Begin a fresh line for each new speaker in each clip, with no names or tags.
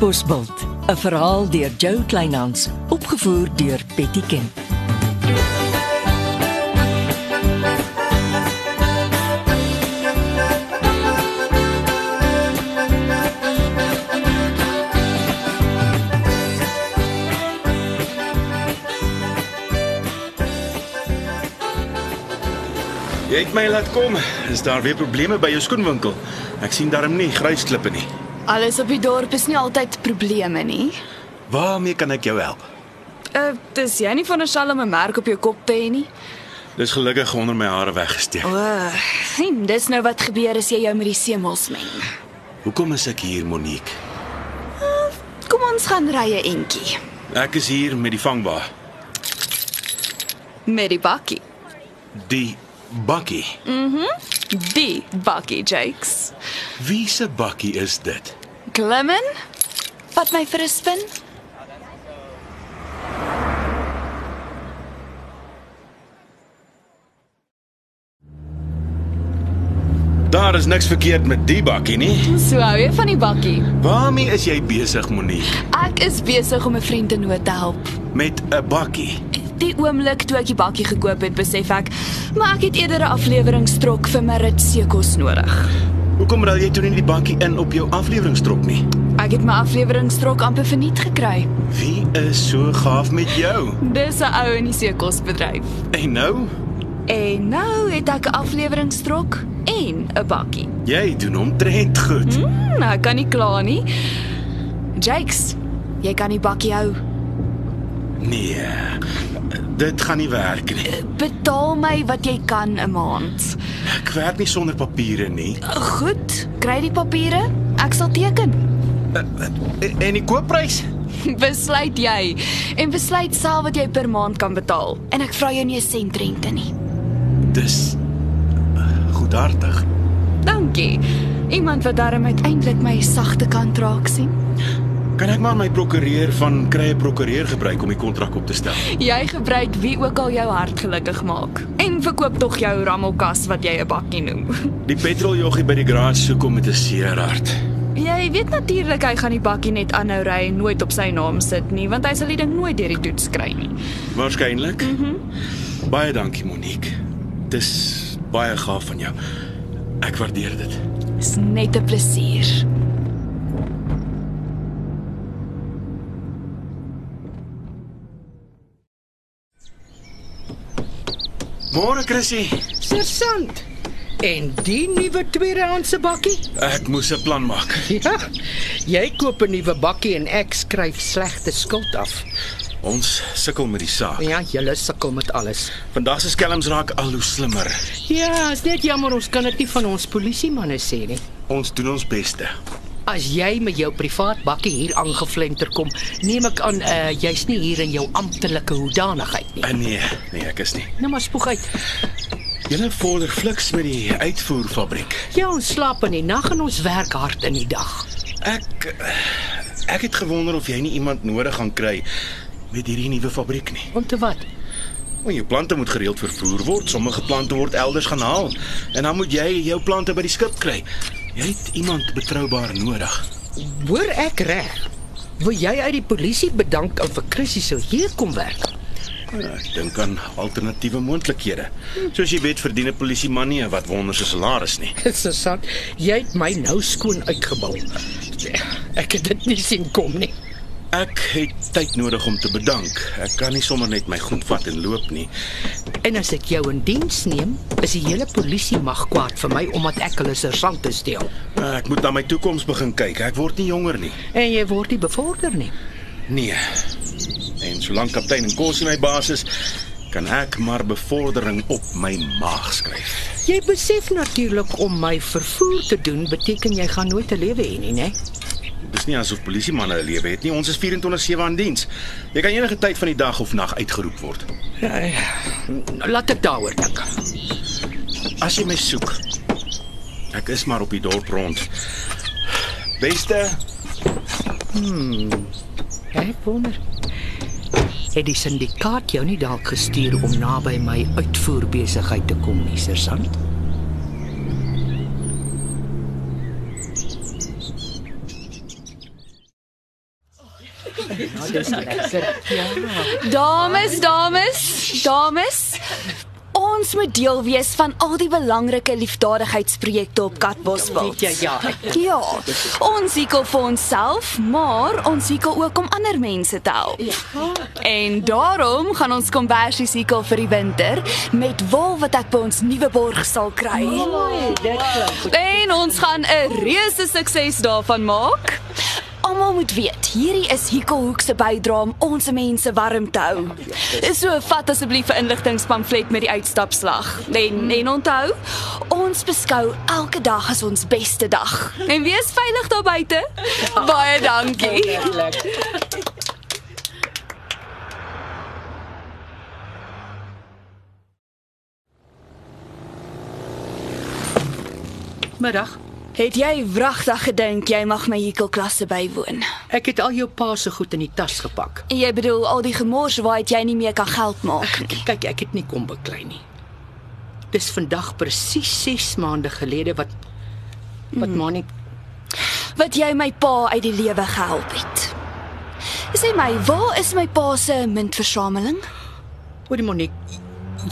Bosbult, 'n verhaal deur Jo Kleinhans, opgevoer deur Betty Ken.
Jy het my laat kom. Is daar weer probleme by jou skoenwinkel? Ek sien daarom nie grysklippe nie.
Alles op die dorp is nie altyd probleme nie.
Waarmee kan ek jou help?
Uh, dis jy nie van 'n skelm 'n merk op jou kop hê nie.
Dis gelukkig onder my hare weggesteek.
O, sien, dis nou wat gebeur as jy jou met die seemels meng.
Hoekom is ek hier, Monique?
Kom ons gaan ry 'n entjie
Ek is hier met die vangba.
met die bakkie.
Die bakkie.
Die bakkie Jakes.
Wie se bakkie is dit?
Klim in. Vat my vir 'n spin.
Daar is niks verkeerd met die bakkie nie.
So hou jy van die bakkie.
Waarmee is jy besig, Monique?
Ek is besig om 'n vriend in nood te help.
Met 'n bakkie.
Die oomblik toe ek die bakkie gekoop het, besef ek, maar ek het eerder 'n afleweringstrok vir my rit seekos nodig.
Hoekom ruil jy toe nie die bakkie in op jou afleweringstrok nie?
Ek het my afleweringstrok amper verniet gekry.
Wie is so gaaf met jou?
Dis 'n ou in die seekosbedryf.
En nou,
En nou het ek 'n afleweringstrok en 'n bakkie.
jy doen omtrent goed.
Hm, ek kan nie kla nie. Jakes, jy kan die bakkie hou.
Nee. Dit gaan nie werk nie.
Betaal my wat jy kan 'n maand.
Ek werk nie sonder papiere nie.
Goed, kry die papiere. Ek sal teken.
En die koopprys?
Besluit jy en besluit self wat jy per maand kan betaal. En ek vra jou nie 'n sent rente nie.
Dis eh, goedaardig.
Dankie. Iemand wat darm uiteindelik my sagte kant raak sien.
Kan ek maar my prokureur van krye prokureur gebruik om die kontrak op te stel?
Jy gebruik wie ook al jou hart gelukkig maak en verkoop tog jou rammelkas wat jy 'n bakkie noem.
Die petroljoggie by die garage soek hom met 'n seer hart.
Jy weet natuurlik hy gaan die bakkie net aanhou ry en nooit op sy naam sit nie, want hy sal die ding nooit deur die toets kry nie.
Waarskynlik. Mm -hmm. Baie dankie Monique. Dis baie gaaf van jou. Ek waardeer dit.
Dis net 'n plesier.
Môre Chrissy,
Interessant. En die nuwe tweedehandse bakkie?
ek moes 'n plan maak.
Ja. Jy koop 'n nuwe bakkie en ek skryf slegte skuld af.
Ons sukkel met die saak.
Ja, julle sukkel met alles.
Vandag se skelms raak al hoe slimmer.
Ja, is net jammer ons kan dit nie van ons polisiemanne sê nie.
Ons doen ons beste.
As jy met jou privaat bakkie hier aangeflenter kom, neem ek aan uh, jy's nie hier in jou amptelike hoedanigheid nie.
Ah, nee, nee, ek is nie.
Nou maar spoeg uit.
Julle vorder fliks met die uitvoerfabriek.
Ja, ons slaap in die nag en ons werk hard in die dag.
Ek eh, ek het gewonder of jy nie iemand nodig gaan kry met hierdie nuwe fabriek nie.
Om te wat?
Want jou plante moet gereeld vervoer word. Sommige plante word elders gaan haal en dan moet jy jou plante by die skip kry. Jy het iemand betroubaar nodig.
Hoor ek reg? Wil jy uit die polisie bedank en vir Chrissy sou hier kom werk?
Ah, Ek dink aan alternatiewe moontlikhede. Soos jy weet, verdien 'n polisieman nie 'n wat wonderse salaris nie.
Susan, jy het my nou skoon uitgebou. Ek het dit nie sien kom nie.
Ek het tyd nodig om te bedank. Ek kan nie sommer net my goed vat en loop nie.
En as ek jou in diens neem, is die hele polisie mag kwaad vir my omdat ek hulle sergeant is deel.
Ah, Ek moet na my toekoms begin kyk. Ek word nie jonger nie.
En jy word nie bevorder nie.
Nee. En solank kaptein en kos in my baas is, kan ek maar bevordering op my maag skryf.
Jy besef natuurlik om my vervoer te doen beteken jy gaan nooit 'n lewe hê nie, né?
Dis nie asof polisiemanne 'n lewe het nie. Ons is 24/7 aan diens. Jy kan enige tyd van die dag of nag uitgeroep word.
Ja, ja. Laat ek daaroor dink.
As jy my soek, ek is maar op die dorp rond. Beste,
Ek wonder. Het die syndikaat jou nie dalk gestuur om naby my uitvoerbesigheid te kom nie, sergeant? Dis lekker. Ja.
Dames, dames, dames. Ons moet deel wees van al die belangrike liefdadigheidsprojekte op Katbosveld.
Ja, ja, ek
Ja, ons sukkel vir onsself, maar ons sukkel ook om ander mense te help.
Ja.
En daarom gaan ons kombersie sukkel vir die winter met wol wat ek by ons nuwe borg sal kry. En ons gaan 'n reuse sukses daarvan maak. Almal moet weet, hierdie is Hikkelhoek se bydrae om ons mense warm te hou. So vat asseblief 'n inligtingpamflet met die uitstapslag. En en onthou, ons beskou elke dag as ons beste dag. En wees veilig daar buite. Baie dankie.
middag.
Het jy wragtig gedink jy mag my Hikkelklasse bywoon?
Ek het al jou pa se goed in die tas gepak.
Jy bedoel al die gemors waaruit jy nie meer kan geld maak nie.
Kyk, ek het nie kom beklei nie. Dis vandag presies 6 maande gelede wat wat mm. Monique
wat jy my pa uit die lewe gehelp het. Sê my, waar is my pa se muntversameling?
Oor Monique,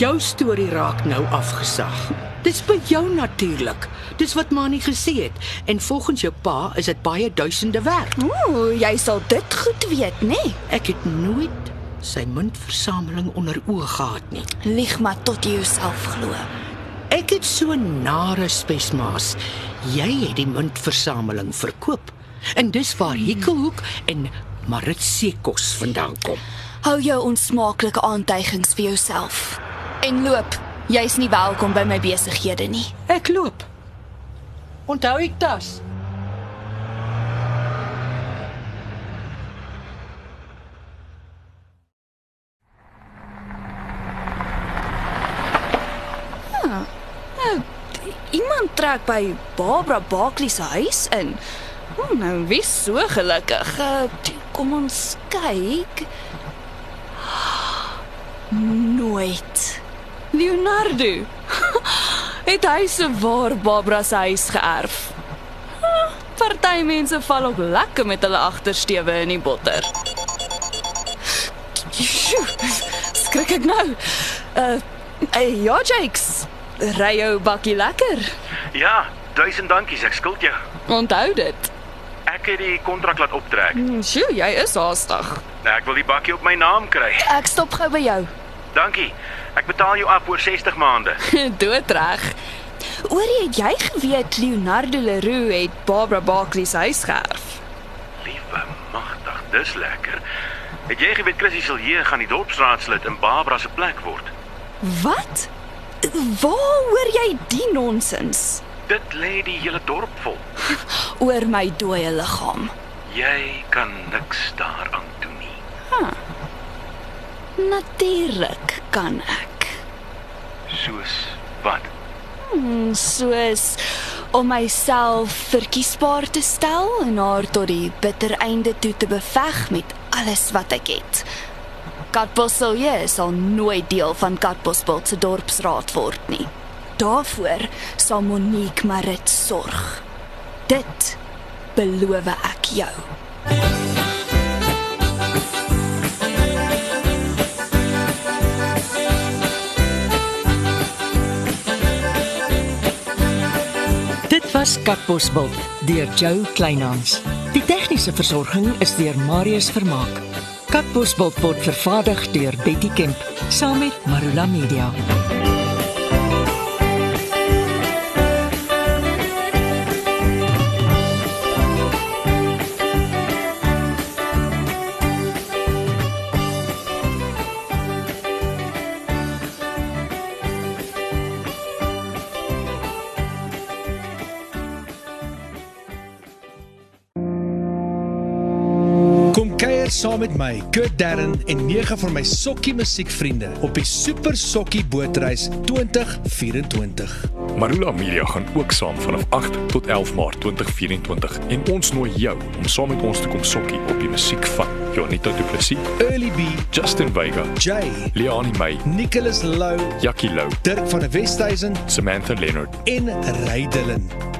jou storie raak nou afgesag. Dis by jou natuurlik. Dis wat Mani gesê het en volgens jou pa is dit baie duisende werd.
Ooh, jy sal dit goed weet, nê? Nee?
Ek het nooit sy muntversameling onder oë gehad nie.
Lieg maar tot jy jouself glo.
Ek het so nare spesmaas. Jy het die muntversameling verkoop. En dis waar Hikkelhoek en Maritsekos vandaan kom.
Hou jou onsmaaklike aantuigings vir jouself. En loop. Jy's nie welkom by my besighede nie.
Ek loop. Onthou die tas.
Iemand trek by Barbara Barkley se huis in. Oh, nou wie so gelukkig. Eh, t- Kom ons kyk. Nooit. Leonardo. Het hy se waar Barbara se huis geërf? Ah, Party mense val ook lekker met hulle agtersteuwe in die botter. Sjoe, Skrik ek nou. Uh, uh ja, Jakes. Ry jou bakkie lekker.
Ja, duisend dankies, ek skuld jou.
Onthou dit.
Ek het die kontrak laat optrek. Nou,
Sjoe, jy is haastig.
Ek wil die bakkie op my naam kry.
Ek stop gou by jou.
Dankie. Ek betaal jou af oor 60 maande.
Doodreg. Oorie, het jy geweet Leonardo Leroux het Barbara Barkley se huis geërf?
Liewe magtig, dis lekker. Het jy geweet Chrissy Silje gaan die dorpsraadslid in Barbara se plek word?
Wat? Waar hoor jy die nonsens
Dit lê die hele dorp vol.
oor my dooie liggaam?
Jy kan niks daaraan doen nie.
Natuurlik kan ek.
Soos wat?
Hmm, Soos om myself verkiesbaar te stel en haar tot die bitter einde toe te beveg met alles wat ek het. Katbosselje sal nooit deel van Katbosveld se dorpsraad word nie. Daarvoor sal Monique Marit sorg. Dit beloof ek jou.
Dit was Katbosveld deur Jo Kleinhans. Die tegniese versorging is deur Marius Vermaak. Katbosveld word vervaardig deur Betty Kemp saam met Marula Media.
Kom kuier saam met my, Kurt Darren en nege van my sokkie musiekvriende op die Super Sokkie Bootreis 2024.
Marula Media gaan ook saam vanaf 8 tot 11 Maart 2024 en ons nooi jou om saam met ons te kom sokkie op die musiek van Jonita Du Plessis,
Early B,
Justin Vega,
Jay,
Leoni May,
Nicholas Lou,
Jackie Lou,
Dirk van der Westhuizen
Samantha Leonard
en Ray Dillon.